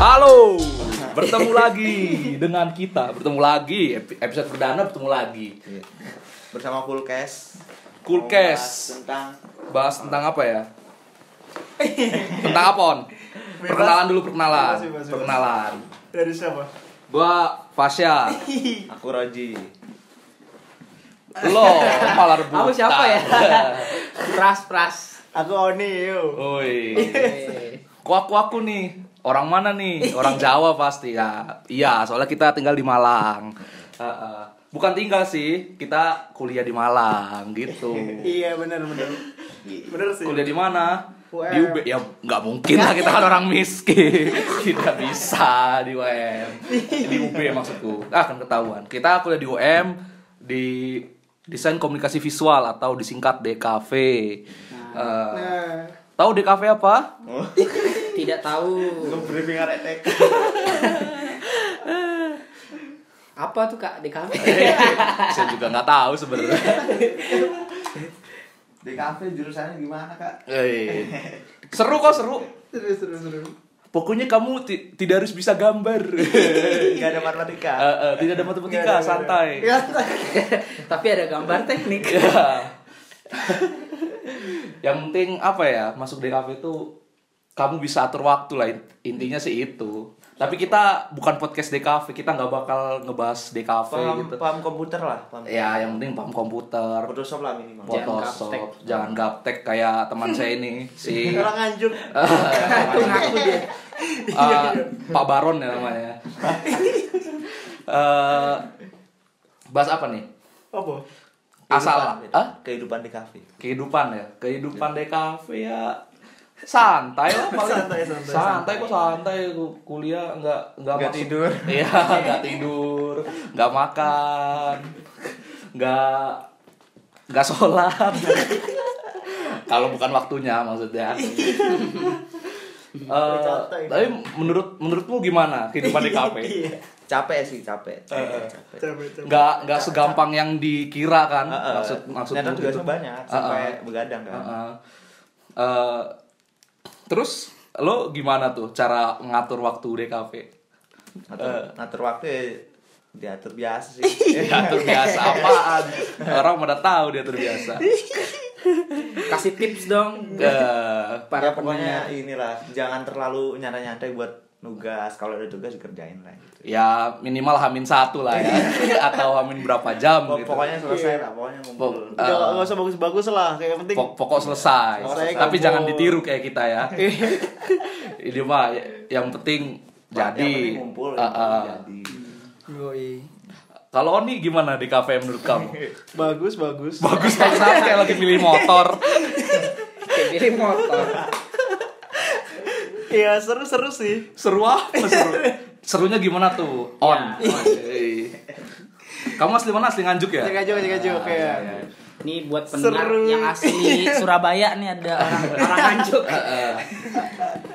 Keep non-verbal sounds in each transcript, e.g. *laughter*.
Halo, bertemu lagi dengan kita, bertemu lagi Epi- episode perdana bertemu lagi. Iya. bersama Kulkes Cool Oh, Mau Kes. bahas tentang Bahas tentang apa *laughs* ya? Tentang apa on? Perkenalan dulu perkenalan, Bebas, bebas, bebas. perkenalan. Dari siapa? Gua Fasya, aku Roji lo malah rebut. Aku siapa ya? pras pras. Aku Oni, yo. *laughs* Woi, ku aku aku nih. Orang mana nih? Orang Jawa pasti ya. Iya, soalnya kita tinggal di Malang. Heeh. Bukan tinggal sih, kita kuliah di Malang gitu. Iya benar benar. Benar sih. Kuliah di mana? UM. Di UB ya nggak mungkin lah kita kan orang miskin *laughs* tidak bisa di UM di UB maksudku ah kan ketahuan kita kuliah di UM di desain komunikasi visual atau disingkat DKV Eh, Nah, tahu DKV *laughs* apa Tidak tahu. briefing arek TK Apa tuh Kak DKV? saya juga nggak tahu sebenarnya *laughs* di kafe jurusannya gimana kak Eh, seru kok seru terus terus terus. pokoknya kamu ti- tidak harus bisa *laughs* gambar nggak ada matematika Eh, eh, tidak ada Iya, matematika santai Ya, Tapi ada gambar teknik. Iya. *laughs* yang penting apa ya masuk DKV itu kamu bisa atur waktu lah int- intinya sih itu tapi kita bukan podcast DKV kita nggak bakal ngebahas DKV paham gitu paham komputer lah paham ya yang penting paham komputer Photoshop lah minimal Jangan gaptek. Photoshop jangan gaptek kayak teman saya ini si Iya. orang anjuk. Itu ngaku dia. Eh, Pak Baron ya namanya Eh, bahas apa nih Apa? asal Kehidupan, gitu. Hah? kehidupan di kafe kehidupan ya kehidupan DKV ya santai lah paling Santai, santai, santai kok santai Ku- kuliah nggak nggak Nggak masuk- tidur. *laughs* iya nggak tidur nggak makan nggak nggak sholat *laughs* kalau bukan waktunya maksudnya Eh, Santai. tapi menurut menurutmu gimana kehidupan DKV Iya. capek sih capek capek, capek. Coba coba. nggak nggak segampang yang dikira kan Eh, eh, maksud gitu. Eh, maksud ternyata itu tugasnya banyak sampai begadang kan Heeh. Eh, terus lo gimana tuh cara ngatur waktu DKV? ngatur, ngatur waktu ya diatur biasa sih *laughs* Diatur Eh, biasa apaan? Orang pada tahu diatur biasa. Kasih tips dong. Eh, para Ya, Para pokoknya inilah jangan terlalu nyantai nyantai buat nugas kalau ada tugas dikerjain lah gitu ya minimal hamin satu lah *laughs* ya atau hamin berapa jam Pok- gitu. pokoknya selesai Iya. lah pokoknya ngumpul Pok- Udah eh, nggak usah bagus-bagus lah, kayak yang penting. pok- pokok selesai. Selesai, Tapi kamu. jangan ditiru kayak kita *laughs* ya. Ini mah yang penting Yang penting jadi. ngumpul Eh, yang eh. penting jadi Yoi. Kalau Oni gimana DKV menurut kamu? *laughs* Bagus bagus. Bagus banget kayak lagi milih motor. Kayak beli motor. Iya seru-seru sih. seru apa seru serunya gimana tuh on Eh. kamu asli mana asli nganjuk ya Cek aja cek aja Ah, kayak. iya, iya. Ini buat pendengar Seru. yang asli Surabaya nih ada orang orang anjuk.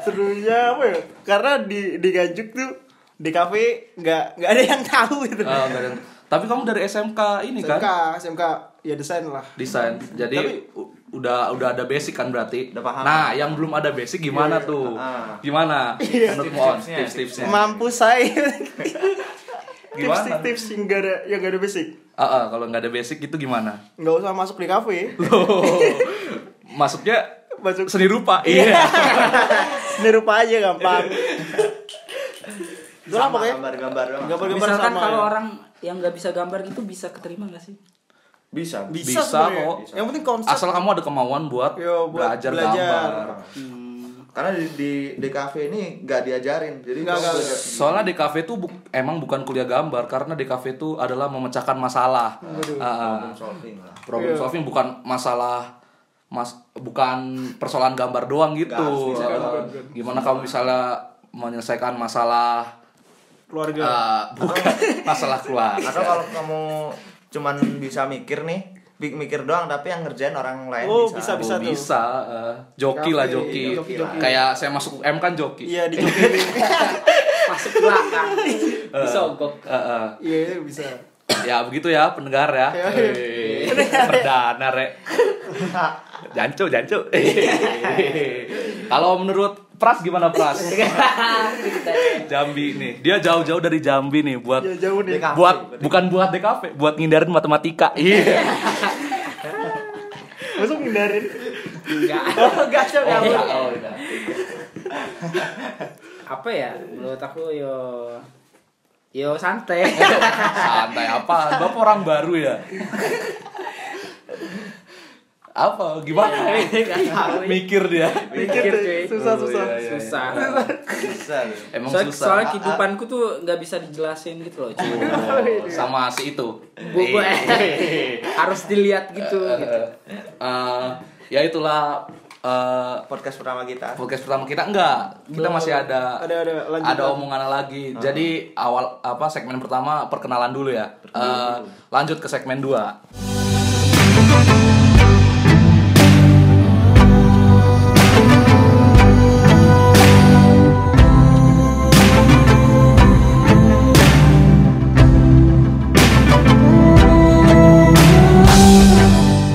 Serunya apa ya? Karena di di Ganjuk tuh di kafe nggak nggak ada yang tahu gitu. Ah, enggak ada. tapi kamu dari SMK ini kan SMK, SMK ya desain lah. desain jadi Tapi- u- udah udah ada basic kan berarti Udah paham. nah yang belum ada basic gimana tuh Ah. gimana menurutmu on Tips-tipsnya, tips tipsnya Mampu saya. Ya. *laughs* Gimana? Tips-tips yang gak ada yang gak ada basic. Ah, kalau nggak ada basic itu gimana Nggak usah masuk di kafe. *laughs* loh masuknya Masuk seni rupa iya nirupa aja gampang. *laughs* Itulah Sama, pokoknya. gambar-gambar doang. Gambar-gambar Misalkan sama. kalau ya. orang yang nggak bisa gambar gitu bisa keterima nggak sih? bisa bisa, Bisa sebenarnya. kok. Yang penting konsep. asal kamu ada kemauan buat, Yo, buat belajar, belajar. gambar karena di di, di kafe ini nggak diajarin jadi Nggak, kamu nggak. belajar sendiri. Soalnya DKV itu bu- emang bukan kuliah gambar karena DKV itu adalah memecahkan masalah. Ah, problem solving lah problem Iya. solving bukan masalah mas bukan persoalan gambar doang gitu. Nggak, Ah, gimana kamu misalnya menyelesaikan masalah keluarga. *laughs* ah, bukan masalah keluarga. atau kalau kamu cuman bisa mikir nih bi- mikir doang tapi yang ngerjain orang lain Oh, bisa, Oh, bisa-bisa. tuh. bisa eh, joki lah Kafe, joki. joki, joki. kayak saya masuk UM kan joki Iya di Jogja. masuk neraka *laughs* disogok Eh, eh. *laughs* Iya iya, bisa. ya begitu ya pendengar ya Ya, ya. Hei, perdana rek jancu jancu kalau menurut Pras gimana Pras Jambi nih dia jauh-jauh dari Jambi nih buat Iya jauh nih. Dekat. buat bukan buat DKV buat ngindarin matematika iya Masuk ngindarin. enggak Oh, enggak Cok, enggak, Oh, enggak. oh, udah. apa ya menurut aku yo yo santai *laughs* santai apa bapak orang baru ya apa gimana Nggak tahu. mikir dia mikir Mikir, cuy cuy. Susah, Oh, susah. iya, iya, iya. susah bisa emang soalnya, susah soalnya kehidupanku tuh nggak bisa dijelasin gitu loh cuy Oh, sama si itu Iya. Bu- bu- harus dilihat gitu gitu Eh, ya itulah eh, podcast pertama kita podcast pertama kita enggak kita masih ada Ada- ada lanjutan. ada omongan lagi jadi awal apa segmen pertama perkenalan dulu ya Eh, lanjut ke segmen 2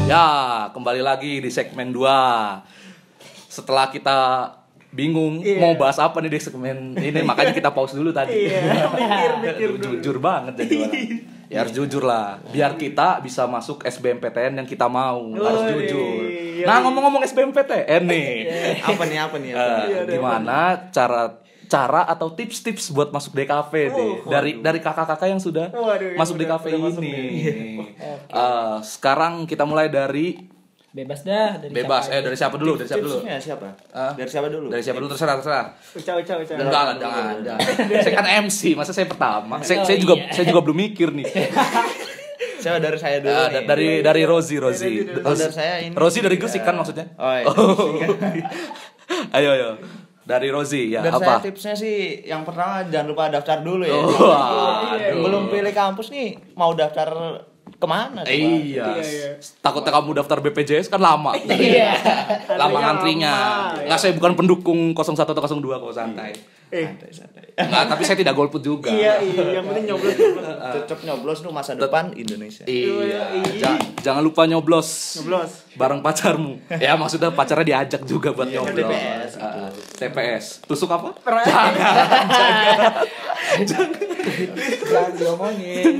ya kembali lagi di segmen 2 setelah kita bingung Iya. mau bahas apa nih di segmen ini makanya kita pause dulu tadi Iya, mikir mikir Aduh, dulu. Iya. jujur banget jadi orang. Ya harus jujur lah, biar kita bisa masuk SBMPTN yang kita mau. harus Woi, Iya. jujur. yoi. Nah, ngomong-ngomong SBMPTN nih. apa nih apa *laughs* nih Eh, apa nih? Iya, deh, gimana cara cara atau tips-tips buat masuk DKV nih dari dari kakak-kakak yang sudah Waduh, yang masuk udah- DKV udah masuk ini. nih. Eh, sekarang kita mulai dari bebas dah dari bebas. siapa Eh ya? dari siapa dulu? Dari siapa dulu? Tipsnya siapa Ah. dari siapa dulu Dari siapa dulu terserah terserah. Ucap ucap ucap. Enggak lah, jangan, jangan. *laughs* Saya kan MC, masa saya pertama. Saya, saya juga saya juga belum mikir nih. siapa dari saya dulu Ah, nih. da- dari dari Rosie Rosie. Dari- dari- dari saya ini. Rosie dari Gusik kan maksudnya? Oh, iya. *laughs* ayo ayo. Dari Rosie ya dari saya apa? Oh, tipsnya sih yang pertama jangan lupa daftar dulu ya Wah, aduh. Iya, belum pilih kampus nih mau daftar kemana coba? Iya. Iya, iya. Takutnya kamu daftar BPJS kan lama. Iya. lama Antrinya ngantrinya. lama, ya. Enggak saya bukan pendukung 01 atau 02 kok santai. Eh, Enggak, tapi saya tidak golput juga. iya iya yang penting nyoblos. Eh, cocok nyoblos tuh masa depan Indonesia Iya. Ja- jangan lupa nyoblos. Nyoblos. bareng pacarmu ya maksudnya pacarnya diajak juga buat Iya, nyoblos TPS, gitu. Ah, ah. TPS tusuk apa jangan diomongin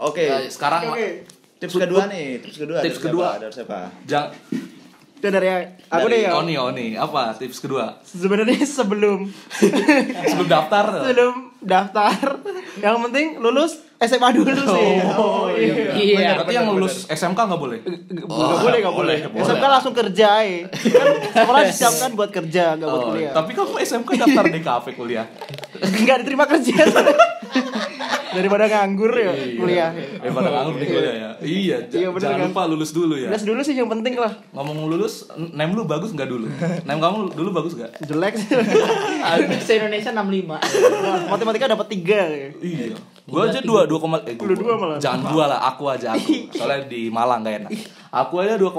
oke Eh, sekarang Oke. tips kedua nih tips kedua Tips dari kedua. siapa? dari siapa jangan Itu dari aku deh dari ya. Oni Oni apa tips kedua Sebenarnya sebelum *laughs* sebelum daftar sebelum daftar, yang penting lulus SMA dulu sih. Oh, iya. iya berarti yang lulus SMK nggak boleh Gak boleh, gak boleh. SMK langsung kerja eh. Kan sekolah disiapkan buat kerja, gak buat Oh, kuliah. tapi kamu SMK daftar di kafe kuliah Gak diterima kerja. Daripada nganggur ya kuliah. eh pada nganggur di kuliah ya iya j- Iya, bener jangan kan? lupa lulus dulu ya Lulus dulu sih yang penting lah. ngomong lulus nem lu bagus nggak dulu nem kamu dulu bagus nggak Jelek sih. se Indonesia 65 Matematika dapat tiga. ya. Iya. Gua aja dua dua koma eh, gua- Lu dua malah. Jangan dua lah, aku aja aku. Soalnya di Malang gak enak. Aku aja 2,5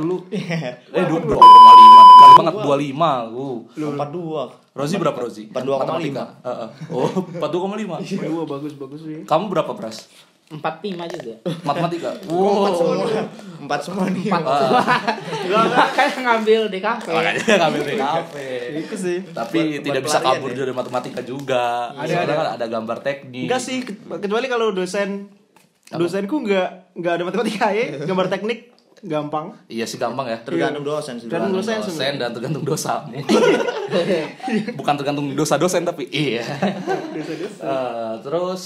dulu. Eh dua dua koma lima. Dekat banget 25 aku. empat dua Rozi berapa Rozi? 42,5. Heeh. Oh, 42,5. Dua bagus bagus sih. Kamu berapa, Pras? 45 juga Matematika. Wow. Ah, empat semua nih *laughs* makanya Kan ngambil di kafe Makanya ngambil TKP. Itu sih. Tapi Buat- tidak buat bisa pelarian kabur ya. dari matematika juga. Ada, Soalnya ada. kan ada gambar teknik. Enggak sih, ke- kecuali kalau dosen dosenku enggak enggak ada matematika ya, gambar teknik gampang. Iya sih gampang ya. tergantung dosen sih Tergantung dosen dosen Kan sebenarnya. dan tergantung *laughs* dosamu bukan tergantung dosa dosen tapi iya Eh, terus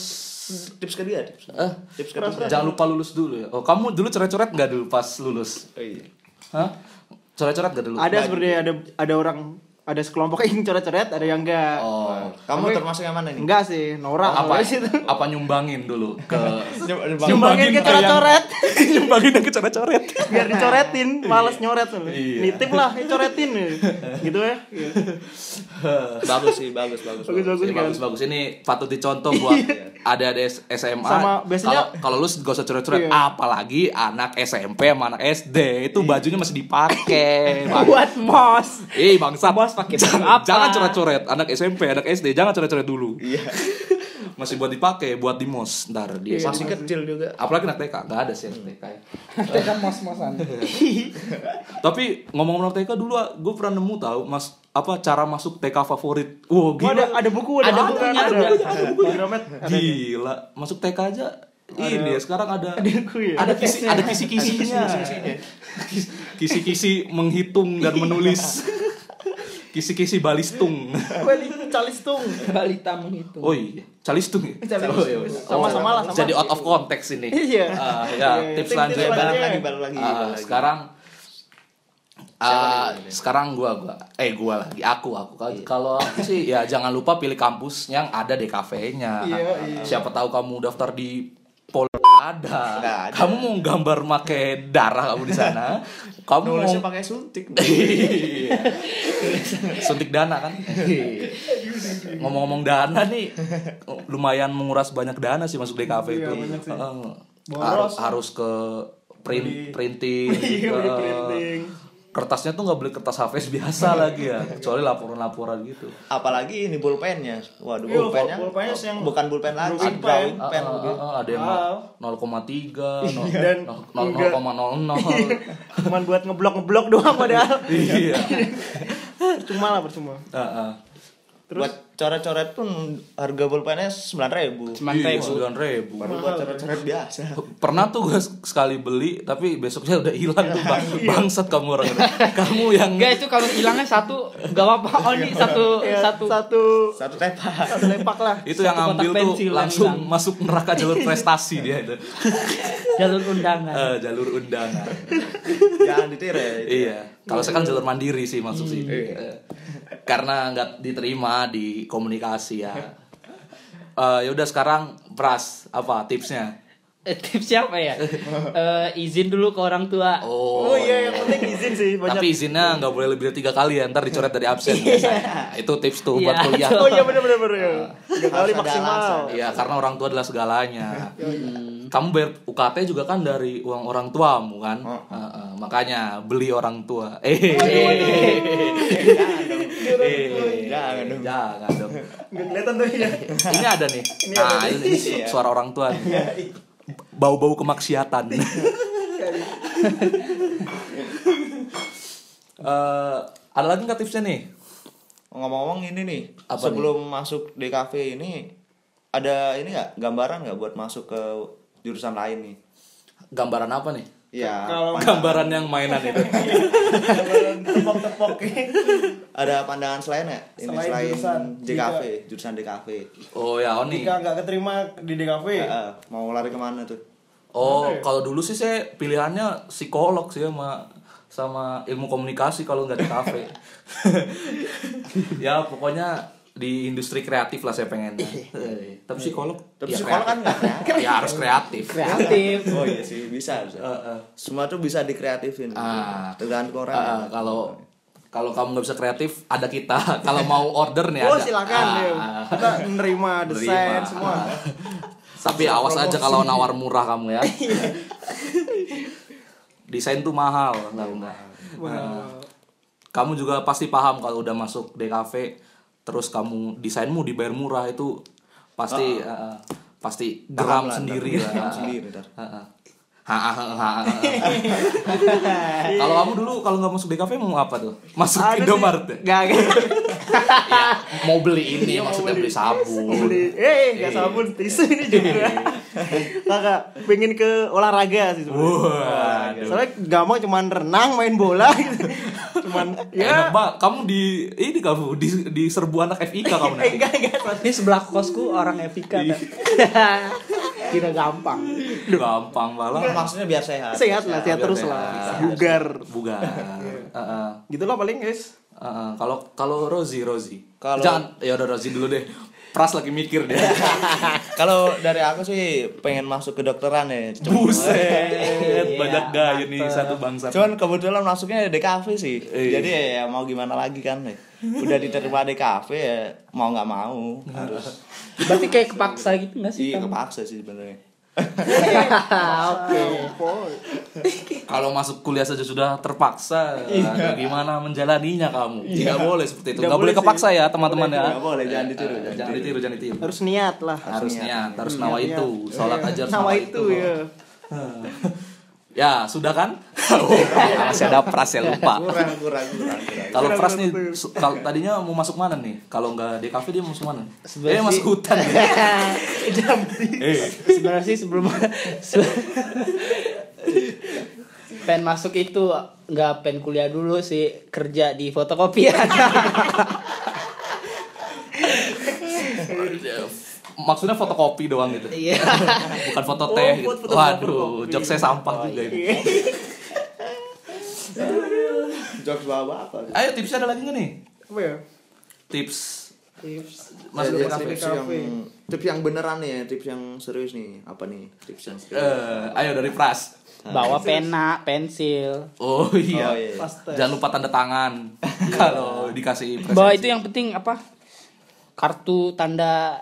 tips kedua tips eh, tips kedua jangan lupa lulus dulu ya oh kamu dulu coret-coret nggak dulu pas lulus Oh, iya. Hah? coret-coret nggak dulu Ada sebenarnya ada ada orang ada sekelompok yang coret-coret, ada yang enggak. Oh. Kamu Tapi- termasuk yang mana nih? Enggak sih, Nora Apa awalnya sih itu. apa nyumbangin dulu *laughs* ke Nyumbangin ke coret-coret nyumbangin yang ke coret-coret. biar dicoretin, males nyoret lu. Iya. Nitip lah, ya coretin ya. gitu ya. Iya. bagus sih, bagus, bagus. Bagus bagus Ini kan. bagus-bagus ini patut dicontoh buat ada ada SMA. Sama biasanya- kalau kalau lu gak usah coret-coret Iya. apalagi anak SMP sama anak SD itu bajunya masih dipakai. *laughs* Bang. Buat mos. Eh bangsa Bos pakai baju jangan, apa? jangan coret-coret anak SMP, anak SD jangan coret-coret dulu. Iya. *laughs* Masih buat dipakai, buat di mos ntar dia. Iya. Masih kecil juga. Apalagi anak TK, nggak ada sih anak TK. ya. Kita mos-mosan. Tapi ngomong-ngomong TK dulu gue pernah nemu tahu Mas apa cara masuk TK favorit. Wow, Wah, ada gila. ada buku, ada, Ada buku, ada. bukunya, ada bukunya, Ada Gramet, ada. Gila, masuk TK aja ini ya, sekarang ada Ada buku ya? ada kisi ada kisi-kisinya. Kis- Kisi-kisi menghitung dan *laughs* menulis. Kisi-kisi balistung. Gue di Calistung. Balita menghitung. Oh iya, calistung ya? Calistung. Oh, iya, iya. Sama-sama lah, sama. Jadi out of context ini. Iya. Ah, ya, Iya, tips tips lanjut. lanjut. Balik Iya. lagi, balik lagi. balik Ah, lagi. sekarang ah, sekarang gua gua eh gua lagi aku aku Kalau- Iya. kalau aku sih ya jangan lupa pilih kampus yang ada DKV-nya. Iya, iya. Siapa tahu kamu daftar di Pol ada. Nggak ada. Kamu mau gambar make darah kamu di sana. kamu mau nulisnya pakai suntik. Iya. Suntik dana kan. Ngomong-ngomong dana nih, lumayan menguras banyak dana sih masuk DKV Iya, itu. banyak sih. Heeh. Boros. Harus harus ke print Beli- printing. *laughs* Iya, ke- beli printing. Iya. Kertasnya tuh nggak beli kertas HVS biasa lagi ya, kecuali laporan-laporan gitu. Apalagi ini pulpennya. Waduh, Iya, pulpennya. pulpennya sih yang- bukan pulpen lagi, Drawing drawing pen. Ah, pen. gitu. ah, ah, ada yang Ah. 0,3, nol- Iya. Dan nol- nol- enggak. *laughs* 0,00. Cuman buat ngeblok-ngeblok doang padahal. Iya. Cuma lah percuma. Ah, ah. Buat coret-coret pun harga pulpennya 9000. Iya, 9.000. Baru buat coret-coret biasa. pernah tuh gue sekali beli tapi besoknya udah hilang tuh bang Iya. bangsat kamu orang ini. kamu yang Enggak itu kalau hilangnya satu gak apa-apa. Oh ini satu Ya, satu. satu Satu tepak. satu lepak lah. itu yang Satu kotak ambil tuh pensil yang langsung hilang. Iya. masuk neraka jalur prestasi dia itu Jalur undangan. Eh, jalur undangan Jangan ya, ditirai. iya kalau sekarang jalur mandiri sih masuk sih Iya. Eh, karena nggak diterima di komunikasi ya Eh, yaudah sekarang pras apa tipsnya Eh, tips siapa ya? Eh, izin dulu ke orang tua. Oh iya yang penting izin sih banyak. tapi izinnya nggak boleh lebih dari tiga kali ya ntar dicoret dari absen biasanya. itu tips tuh buat kuliah Iya, Oh iya benar benar benar. ya. Tiga kali Harus ada maksimal. *laughs* alasan. Iya, karena orang tua adalah *laughs* segalanya. Kamu bayar UKT juga kan dari uang orang tuamu kan? Eh, eh, makanya beli orang tua. Eh, *laughs* eh, Jangan dong. jangan *laughs* dong. Enggak kelihatan tuh ya. Ini ada Iya, nih. Nah, ini, ini su- suara orang tua. nih. Bau-bau kemaksiatan. *laughs* Eh, ada lagi nggak tipsnya nih? Ngomong-ngomong ini nih, Apa sebelum masuk di kafe ini ada ini nggak gambaran nggak buat masuk ke jurusan lain nih? Gambaran apa nih? Ya, Kalau- pandangan- Gambaran yang mainan itu. Tepok-tepok. ada pandangan selain ya? Ini Selain selain, jurusan, JKV, jurusan DKV. Oh ya, Oni. Jika nggak keterima di DKV, Heeh, mau lari kemana tuh? Oh, kalau dulu sih saya pilihannya psikolog sih sama sama ilmu komunikasi kalau nggak di kafe. ya pokoknya di industri kreatif lah saya pengennya. Eh, Tapi psikolog, Tapi ya, sekolah kan kreatif. nggak kreatif. ya harus kreatif. Kreatif. *laughs* Oh iya sih bisa bisa. Semua tuh bisa dikreatifin. Ah. Tergantung orang. ya. Ah, kalau kalau kamu nggak bisa kreatif, ada kita. *laughs* Kalau mau order nih ada. oh silakan Ah, ya. ah. Kita menerima Nerima. desain semua. Tapi awas aja kalau nawar murah kamu ya. Desain tuh mahal, tahu nggak? Nah, Kamu juga pasti paham kalau udah masuk DKV, terus kamu desainmu dibayar murah itu pasti eh, pasti geram lah, sendiri lah. ntar. Geram sendiri, ntar. Eh, eh. Ha, ha, ha, ha, ha. ah, Kalau kamu dulu kalau nggak masuk DKV mau apa tuh? Masuk Ada sih. Indomart *laughs* ya? Nggak, nggak. Mau beli ini maksudnya beli sabun. beli eh nggak sabun tisu ini juga kakak pengen ke olahraga sih sebenarnya Wah, soalnya gampang cuman renang main bola gitu. cuman Enak ya banget. Kamu di ini kamu di di serbu anak FIK kamu eh nanti. Iya. enggak enggak Ini sebelah kosku orang Epika. Kak. Iya. kira gampang Gampang malah Maksudnya biar sehat. sehat lah biar sehat terus sehat. lah bugar bugar. Heeh. gitu lah paling guys Heeh, Eh, kalau kalau Rozi Rozi Kalau- jangan ya udah Rozi dulu deh Pras lagi mikir deh Kalau dari aku sih pengen masuk ke dokteran ya. Cuma- buset banyak gaya nih satu bangsa Cuman kebetulan masuknya DKV sih. Iya. Jadi ya mau gimana lagi kan ya. Udah diterima DKV ya mau nggak mau harus. Berarti kayak kepaksa gitu nggak sih? Iya kamu? kepaksa sih sebenarnya. *laughs* Oke. kalau masuk kuliah saja sudah terpaksa nah, gimana menjalaninya kamu tidak boleh seperti itu Tidak nggak boleh boleh sih. kepaksa ya teman-teman ya Nggak boleh jangan ditiru. Eh, jangan ditiru jangan ditiru Harus niat lah. harus niat. niat harus nawa itu sholat aja harus Sama itu ya. ya sudah kan *laughs* Oh, masih ada pras ya lupa Kurang kurang kurang kurang. kalau pras nih su- kalau tadinya mau masuk mana nih kalau nggak di kafe dia mau masuk mana dia Sebenarnya sih- masuk hutan eh sebenarnya sih sebelum se- pengen masuk itu nggak pengen kuliah dulu sih kerja di fotokopian maksudnya fotokopi doang gitu iya bukan foto teh gitu. waduh jok saya sampah juga ini *laughs* Jokes bawa apa? ayo tipsnya ada lagi nggak nih Apa ya? tips Tips. masuk ke Ya, kafe tips kafe. yang tips yang beneran nih ya, tips yang serius nih. Apa nih tips yang serius? Eh, ayo dari pras bawa pena pensil oh iya, Oh, iya. Pasti. jangan lupa tanda *laughs* tangan *laughs* kalau dikasih presensi. bawa itu yang penting apa kartu tanda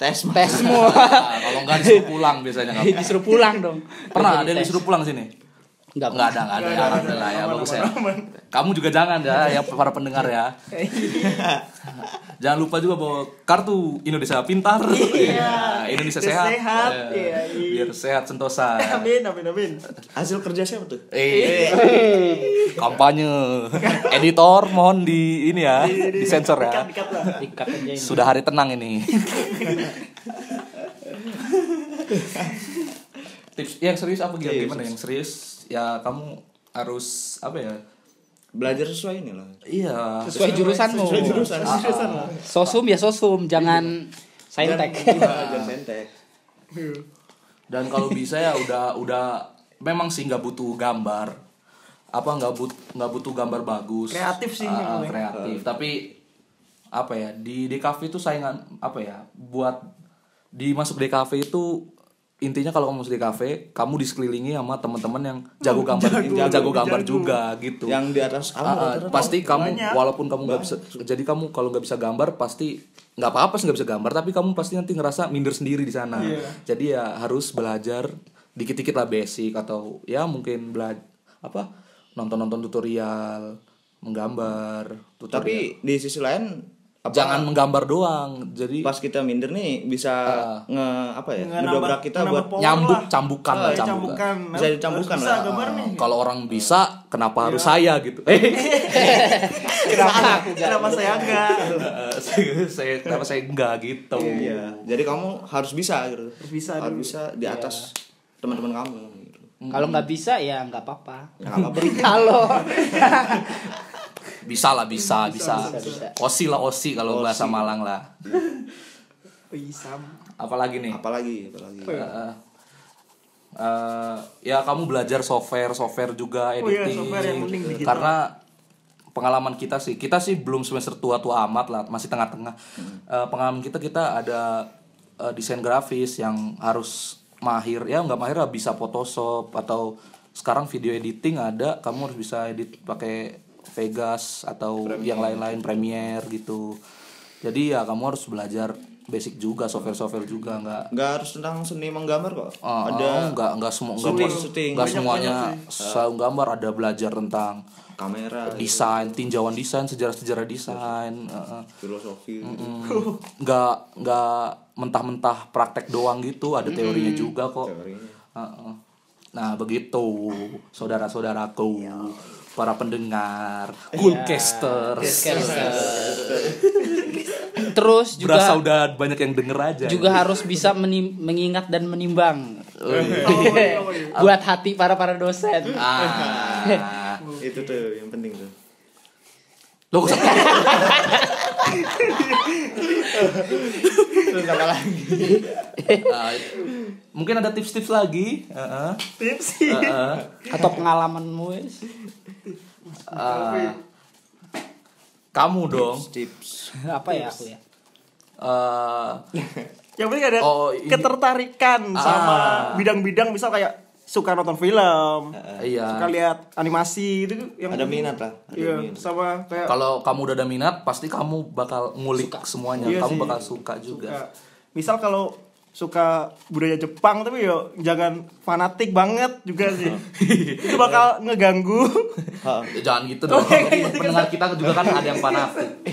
Tes Mas. tesmu Nah, kalau nggak disuruh pulang biasanya nggak *laughs* disuruh pulang dong pernah ada Jadi yang tes. disuruh pulang sini nggak Enggak ada, enggak ada. Ya, Alhamdulillah ya, bagus ya. Kamu juga jangan ya, ya para pendengar *laughs* ya. jangan lupa juga bawa kartu Indonesia Pintar. Iya. Indonesia Biar Sehat. sehat, Eh, iya, iya. Biar sehat sentosa. Amin, Iya. amin, amin. Hasil kerja siapa tuh? Eh, kampanye. Editor mohon di ini Iya, ya, disensor ya. Dikat lah. Ikat aja ini. Sudah hari tenang *laughs* ini. Tips yang serius apa Gil? gimana yang serius? Ya kamu harus apa ya? Belajar sesuai ini loh. Iya. sesuai jurusanmu Ah. Sesuai jurusan. Jurusan lah. sosum ya sosum jangan saintek *laughs* Belajar saintek. dan kalau bisa ya udah udah memang sih nggak butuh gambar apa nggak but nggak butuh gambar bagus Kreatif sih yang Ah, paling. kreatif tapi apa ya di DKV itu saingan apa ya buat di masuk DKV itu intinya kalau kamu masuk DKV kamu disekelilingi sama teman-teman yang jago gambar jago, jago gambar juga gitu Yang di atas Ah, ah, kamu. pasti kamu walaupun kamu nggak bisa jadi kamu kalau nggak bisa gambar pasti nggak apa-apa sih nggak bisa gambar tapi kamu pasti nanti ngerasa minder sendiri di sana jadi ya harus belajar dikit-dikit lah basic atau ya mungkin belajar apa nonton-nonton tutorial menggambar tutorial Tapi di sisi lain apa- jangan menggambar doang jadi pas kita minder nih bisa Ah. nge apa ya mendobrak kita buat nyambuk cambukan Eh, lah Kayak cambukan, cambukan. Bisa dicambukan Harus lah. Bisa gambar nih. kalau orang bisa kenapa harus saya gitu *laughs* *laughs* Kenapa kenapa saya enggak? eh, saya kenapa saya enggak gitu iya jadi kamu harus bisa Iya. gitu harus bisa harus bisa di atas teman-teman kamu gitu kalau nggak bisa ya nggak apa-apa Ya, nggak apa-apa kalau bisa lah bisa bisa, bisa. osi lah osi kalau bahasa Malang lah Pisam. apalagi nih apalagi apalagi Eh, ya? eh, eh, ya kamu belajar software software juga Oh iya, editing software yang penting digital. karena pengalaman kita sih kita sih belum semester tua tua amat lah masih tengah-tengah Hmm. Eh, pengalaman kita kita ada eh, desain grafis yang harus mahir ya nggak mahir lah, bisa Photoshop atau sekarang video editing ada kamu harus bisa edit pakai Vegas atau yang lain-lain Premiere gitu jadi ya kamu harus belajar basic juga software-software juga nggak nggak harus tentang seni menggambar kok Ah, ada ah, nggak nggak semua nggak shooting, pos- shooting. nggak Banyak semuanya selalu gambar ada belajar tentang kamera desain tinjauan desain sejarah sejarah desain eh, eh. filosofi gitu. Hmm, nggak nggak mentah-mentah praktek doang gitu ada teorinya juga kok Teorinya. Eh, eh. nah begitu saudara-saudaraku Ya. para pendengar coolcasters terus juga berasa udah banyak yang denger aja juga harus bisa menim- mengingat dan menimbang *laughs* Oh, iya, oh, iya. buat hati para para dosen ah itu tuh yang penting tuh lo gak usah *laughs* terus apa lagi Ah, mungkin ada tips-tips lagi Heeh. Tips sih. Heeh. atau pengalamanmu wes. Ah, Eh, Kamu dong. tips apa ya aku ya Eh, Yang penting ada Oh, ini- ketertarikan sama Ah. bidang-bidang misal kayak suka nonton film, suka iya. lihat animasi itu tuh yang ada minat lah ada Iya, minat. sama kayak Kalau kamu udah ada minat, pasti kamu bakal ngulik semuanya. Iya kamu sih. bakal suka juga. suka- misal kalau suka budaya Jepang tapi yo jangan fanatik banget juga *laughs* sih. itu bakal ngeganggu. Ha. Jangan gitu *laughs* dong. Iya, Pendengar kita juga kan ada yang fanatik.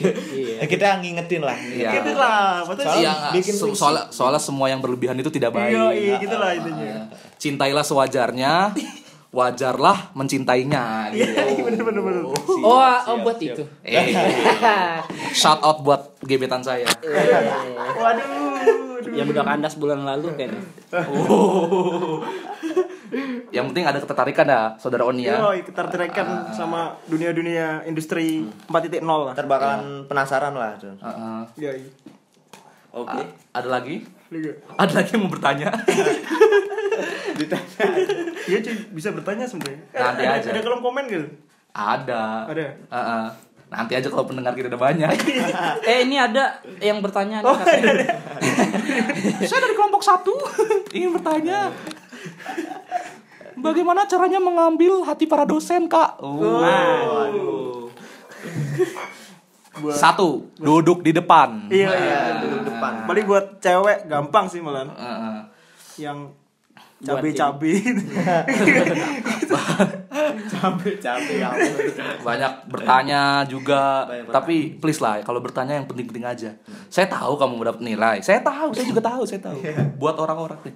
Eh, kita ngingetin lah Iya. Gitu lah, maksudnya Iya, nggak? bikin So- pusing. soalnya, soalnya semua yang berlebihan itu tidak baik. Iya, iya, gitu lah intinya. Iya. Cintailah sewajarnya, wajarlah mencintainya. Gitu. *laughs* Iya, bener bener bener. oh oh buat itu Eh, shout out buat gebetan saya. Waduh. yang udah kandas bulan lalu kayaknya Yang penting ada ketertarikan dah, saudara Oni ya. Yoi, ketertarikan sama dunia-dunia industri 4.0 lah. ntar bakalan penasaran lah Ah. Don. Heeh. Yoi. oke A- ada lagi? *laughs* Liga. Ada lagi yang mau bertanya? *laughs* Iya cuy, bisa bertanya sebenarnya. Eh, Nanti ada, aja. Ada kolom komen gitu. ada. Ada. Heeh. Nanti aja kalau pendengar kita udah *laughs* banyak. eh ini ada yang bertanya nih katanya. Saya dari kelompok satu *laughs* ingin bertanya. Bagaimana caranya mengambil hati para dosen, Kak? Ah. Satu, duduk di depan. Iya iya. duduk depan Paling buat cewek gampang sih malah. Heeh. Yang Buat cabe-cabe. *laughs* capek *laughs* capek ya ampun. Banyak bertanya juga, Banyak bertanya. tapi please lah kalau bertanya yang penting-penting aja. Saya tahu kamu mendapat nilai. Saya tahu, saya juga tahu, saya tahu. Iya. Buat orang-orang nih.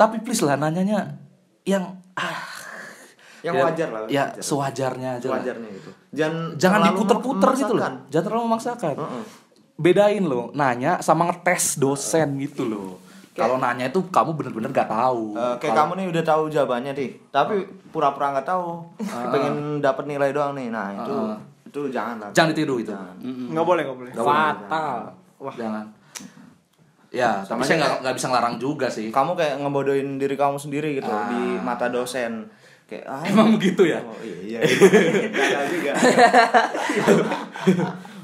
Tapi please lah nanyanya yang ah, yang ya- wajar lah Ya, wajar. sewajarnya aja. lah. wajarnya itu gitu. jangan jangan terlalu diputer-puter gitu loh memaksakan. jangan terlalu memaksakan Heeh. bedain loh nanya sama ngetes dosen gitu loh kalau nanya itu kamu bener-bener gak tahu Eh, kayak Kalau- kamu nih udah tahu jawabannya nih tapi pura-pura nggak tahu pengen dapat nilai doang nih nah itu Ah. itu jangan lah jangan ditiru itu Jangan. Nggak boleh, Hmm. nggak boleh. fatal jangan ya tapi Sama saya aja nggak nggak bisa ngelarang juga sih *laughs* kamu kayak ngebodohin diri kamu sendiri gitu di mata dosen kayak ah emang begitu ya oh, iya, *laughs* iya. Nggak juga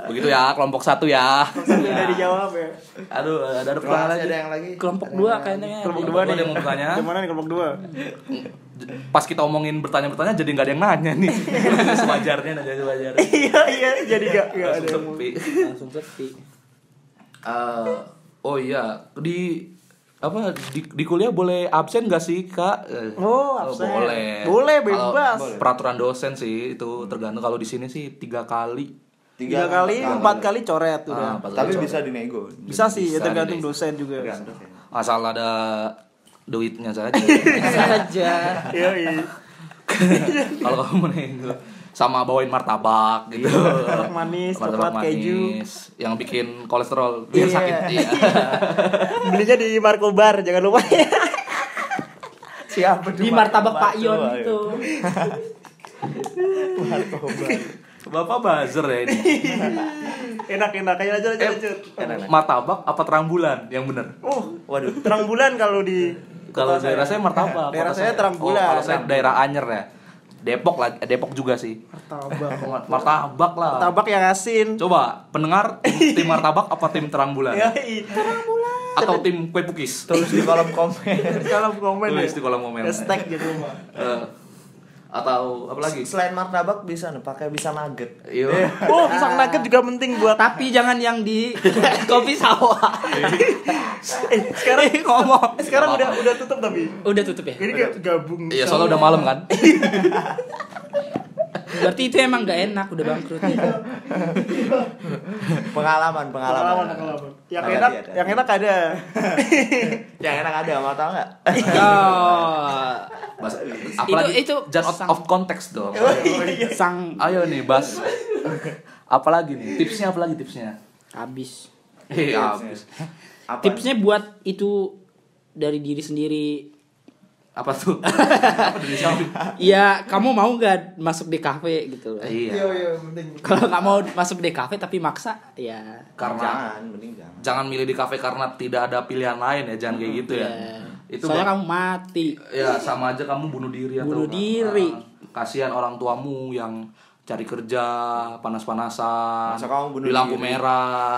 begitu ya kelompok satu ya Sampai udah dijawab ya. aduh ada ada Terima pertanyaan kasih, lagi ada yang lagi kelompok Ada yang dua lagi? kayaknya Kelompok Kelompok dua dua nih. ada yang mau bertanya? Yang mana nih kelompok dua? pas kita omongin bertanya-bertanya jadi nggak ada yang nanya nih Nanya sewajarnya nanya sewajarnya Iya iya, *laughs* jadi nggak nggak ada. *laughs* Langsung yang mau. sepi. langsung sepi Eh, oh iya di apa di, di kuliah boleh absen gak sih kak? Eh, Oh, absen. boleh. Boleh, Kalau bebas. peraturan dosen sih itu tergantung kalau di sini sih tiga kali. Tiga kali, empat kali coret Ah, udah. empat tapi kali. bisa dinego Bisa sih, ya Bisa, tergantung bisa. dosen juga. asal ada duitnya saja. *laughs* saja Iya iya. kalau kamu nego sama bawain martabak gitu. Iya, Martabak manis, coklat keju. yang bikin kolesterol biar Iya. sakit. Iya. *laughs* Belinya di Marco Bar, jangan lupa ya. siapa di martabak Pak Yon itu Bapak buzzer ya ini. Enak enak, ayo lanjut Eh. lanjut lanjut. martabak apa terang bulan yang bener? Oh, iya. waduh terang bulan kalau di Kalau daerah saya martabak. Daerah kota saya terang bulan. Oh, kalau saya daerah Anyer ya. Depok lah, eh, Depok juga sih. martabak. Martabak lah. Martabak yang asin. Coba pendengar tim, tim martabak apa tim terang bulan? Ya, iya. Atau tim kue pukis? tulis di kolom komen Kalau komen Tulis ya. di kolom komen. Hashtag gitu mah. Eh, atau apa lagi? selain martabak bisa nih pakai bisa nugget Iya. *laughs* Oh, pisang nugget juga penting buat tapi jangan yang di *laughs* kopi *laughs* sawah eh, sekarang ngomong. Sekarang udah udah tutup tapi. Iya. udah tutup ya Ini kayak gabung. Iya, soalnya udah malam kan. berarti itu emang gak enak udah *laughs* bangkrut pengalaman pengalaman, pengalaman pengalaman. Iya, Yang Ada, enak, ada. yang enak ada. yang enak ada mau tau *laughs* nggak oh Bahas- apalagi Itu- itu- just out of context dong. sang Ayo nih, Bas. Apalagi nih? Tipsnya apalagi tipsnya? habis Eh, Iya, habis. Apa? tipsnya buat itu dari diri sendiri Apa tuh? ya kamu mau gak masuk di kafe gitu loh Iya. iya, penting. kalau nggak mau masuk di kafe tapi maksa ya Karena jangan mending jangan jangan milih di kafe karena tidak ada pilihan lain ya jangan kayak gitu Iya. ya itu soalnya bak- kamu mati *laughs* ya sama aja kamu bunuh diri atau Bunuh diri. Ah, kasihan orang tuamu yang cari kerja panas-panasan Masa kamu bunuh di lampu diri? merah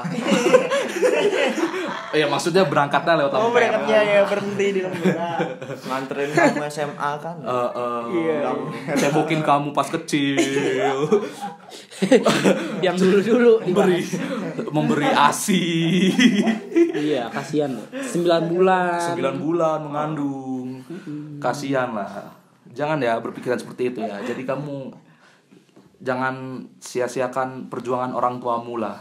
iya maksudnya berangkatnya lewat Oh lampu merah berangkatnya ya berhenti di lembaga. *laughs* nganterin kamu SMA kan Eh, eh, Iya, lampu merah. cebokin kamu pas kecil yang dulu dulu memberi memberi asi iya kasihan loh. sembilan bulan sembilan bulan mengandung kasihan lah jangan ya berpikiran seperti itu ya jadi kamu jangan sia-siakan perjuangan orang tuamu lah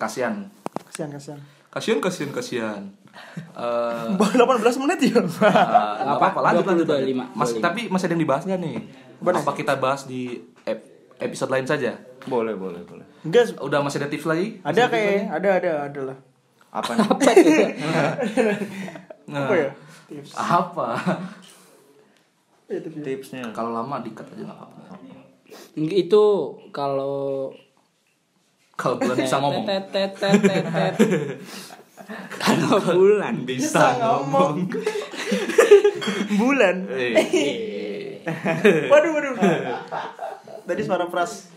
kasihan Kasihan kasihan. kasihan kasihan kasihan *laughs* Eh, Baru 18 menit ya. eh, nggak apa-apa lanjut lanjut, 20, lanjut 25, Mas, 25. tapi masih ada yang dibahas nggak nih apa kita bahas di ep- episode lain saja boleh boleh boleh Enggak. udah masih ada tips lagi Ada kayak ada ada ada lah. apa nih apa itu Nah, Apa ya? Tips. Iya, apa? *laughs* Itu dia. tipsnya kalau lama dikat aja nggak apa-apa itu kalau kalau bulan *laughs* bisa ngomong Tetetetetetet. kalau bulan bisa ngomong *laughs* Bulan. Eh. Waduh waduh. Tadi suara pras.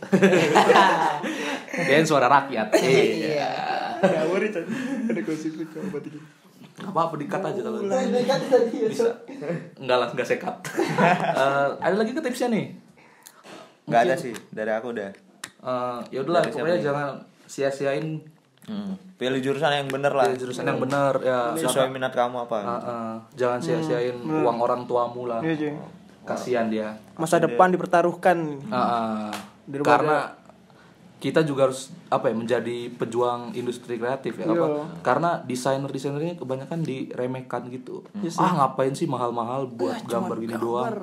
dan suara rakyat *laughs* iya Ngawur itu. Ada gosip itu coba tiga. nggak apa-apa dikat aja kalau gitu. bisa nggak lah nggak *laughs* sekat Eh, ada lagi ke tipsnya nih nggak ada sih dari aku udah Eh, ya udahlah Dari siapa pokoknya nih? jangan sia-siain Hmm. pilih jurusan yang bener lah pilih jurusan yang benar ya sesuai minat kamu apa Eh, eh, jangan sia-siain uang orang tuamu lah Iya, cuy. kasihan dia Masa depan dipertaruhkan. Ah, ah. Daripada- karena kita juga harus apa ya menjadi pejuang industri kreatif ya Iya. apa? karena desainer desainernya kebanyakan diremehkan gitu ah ngapain sih mahal-mahal buat gambar gini doang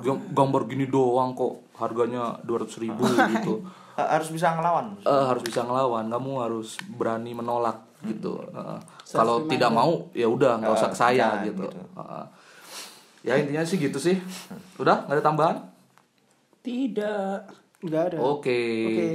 Gam- gambar gini doang kok harganya 200.000 *laughs* ribu gitu Ha- harus bisa ngelawan Eh, harus bisa ngelawan kamu harus berani menolak gitu Eh, kalau tidak mau ya udah nggak usah ke saya jangan gitu, gitu. Eh, ya intinya sih gitu sih udah nggak ada tambahan tidak Enggak ada. Oke. Oke.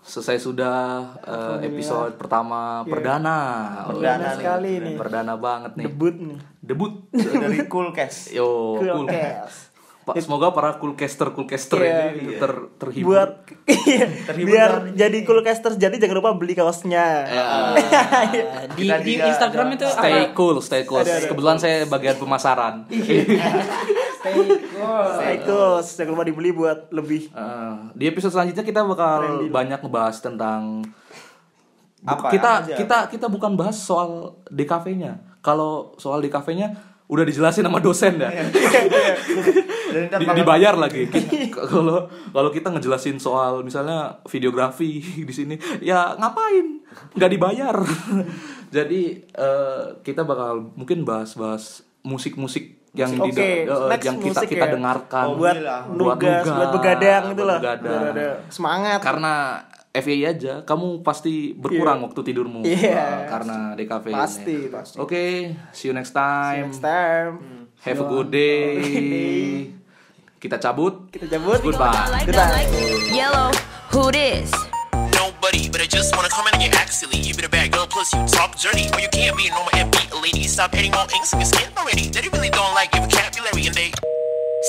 Selesai sudah eh, episode pertama perdana. Perdana Oh, Iya. sekali nih. Perdana banget nih. Debut nih. *laughs* Debut. dari cool cash Yo, cool. Kulkas. Pak, semoga para coolcaster coolcaster Iya. ini ter- terhibur. Buat iya, biar jadi coolcasters jadi jangan lupa beli kaosnya. Ya. di, Kita di juga Instagram itu Stay apa cool, stay cool. Kebetulan saya bagian pemasaran. Iya. Oh, Cycles Nah, jangan lupa dibeli buat lebih Eh, di episode selanjutnya kita bakal banyak ngebahas tentang Apa, kita apa aja? kita kita bukan bahas soal DKV-nya. Kalau soal DKV-nya udah dijelasin sama dosen ya. Iya. dan ntar Di- bakal- dibayar lagi *laughs* Kita- kalau kalau kita ngejelasin soal misalnya videografi *laughs* di sini ya ngapain nggak dibayar *laughs* jadi eh, kita bakal mungkin bahas-bahas musik-musik yang Musik. di- Oke, eh, next yang kita musik kita ya. dengarkan Oh, buat Alhamdulillah. nugas, nugas, buat begadang gitu buat lah. begadang. Biar ada semangat. karena FYI aja kamu pasti berkurang waktu tidurmu Iya. eh, karena DKV ini. Pasti, oke pasti. see you next time Next time have a good day kita cabut kita cabut. Goodbye. Like Goodbye. that, like yellow. Who this? nobody, but I just wanna comment on your act silly. You've been a bad girl, plus you talk dirty. Or you can't be a normal and beat a lady. Stop adding more inks on your skin already. That you really don't like your vocabulary, and they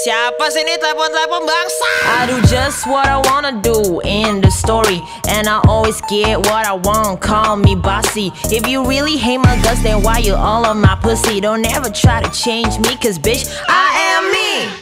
Siapa sih ini telepon-telepon bangsa? I do just what I wanna do in the story, and I always get what I want. Call me bossy. If you really hate my guts, then why you all on my pussy? Don't ever try to change me, cause bitch, I am me.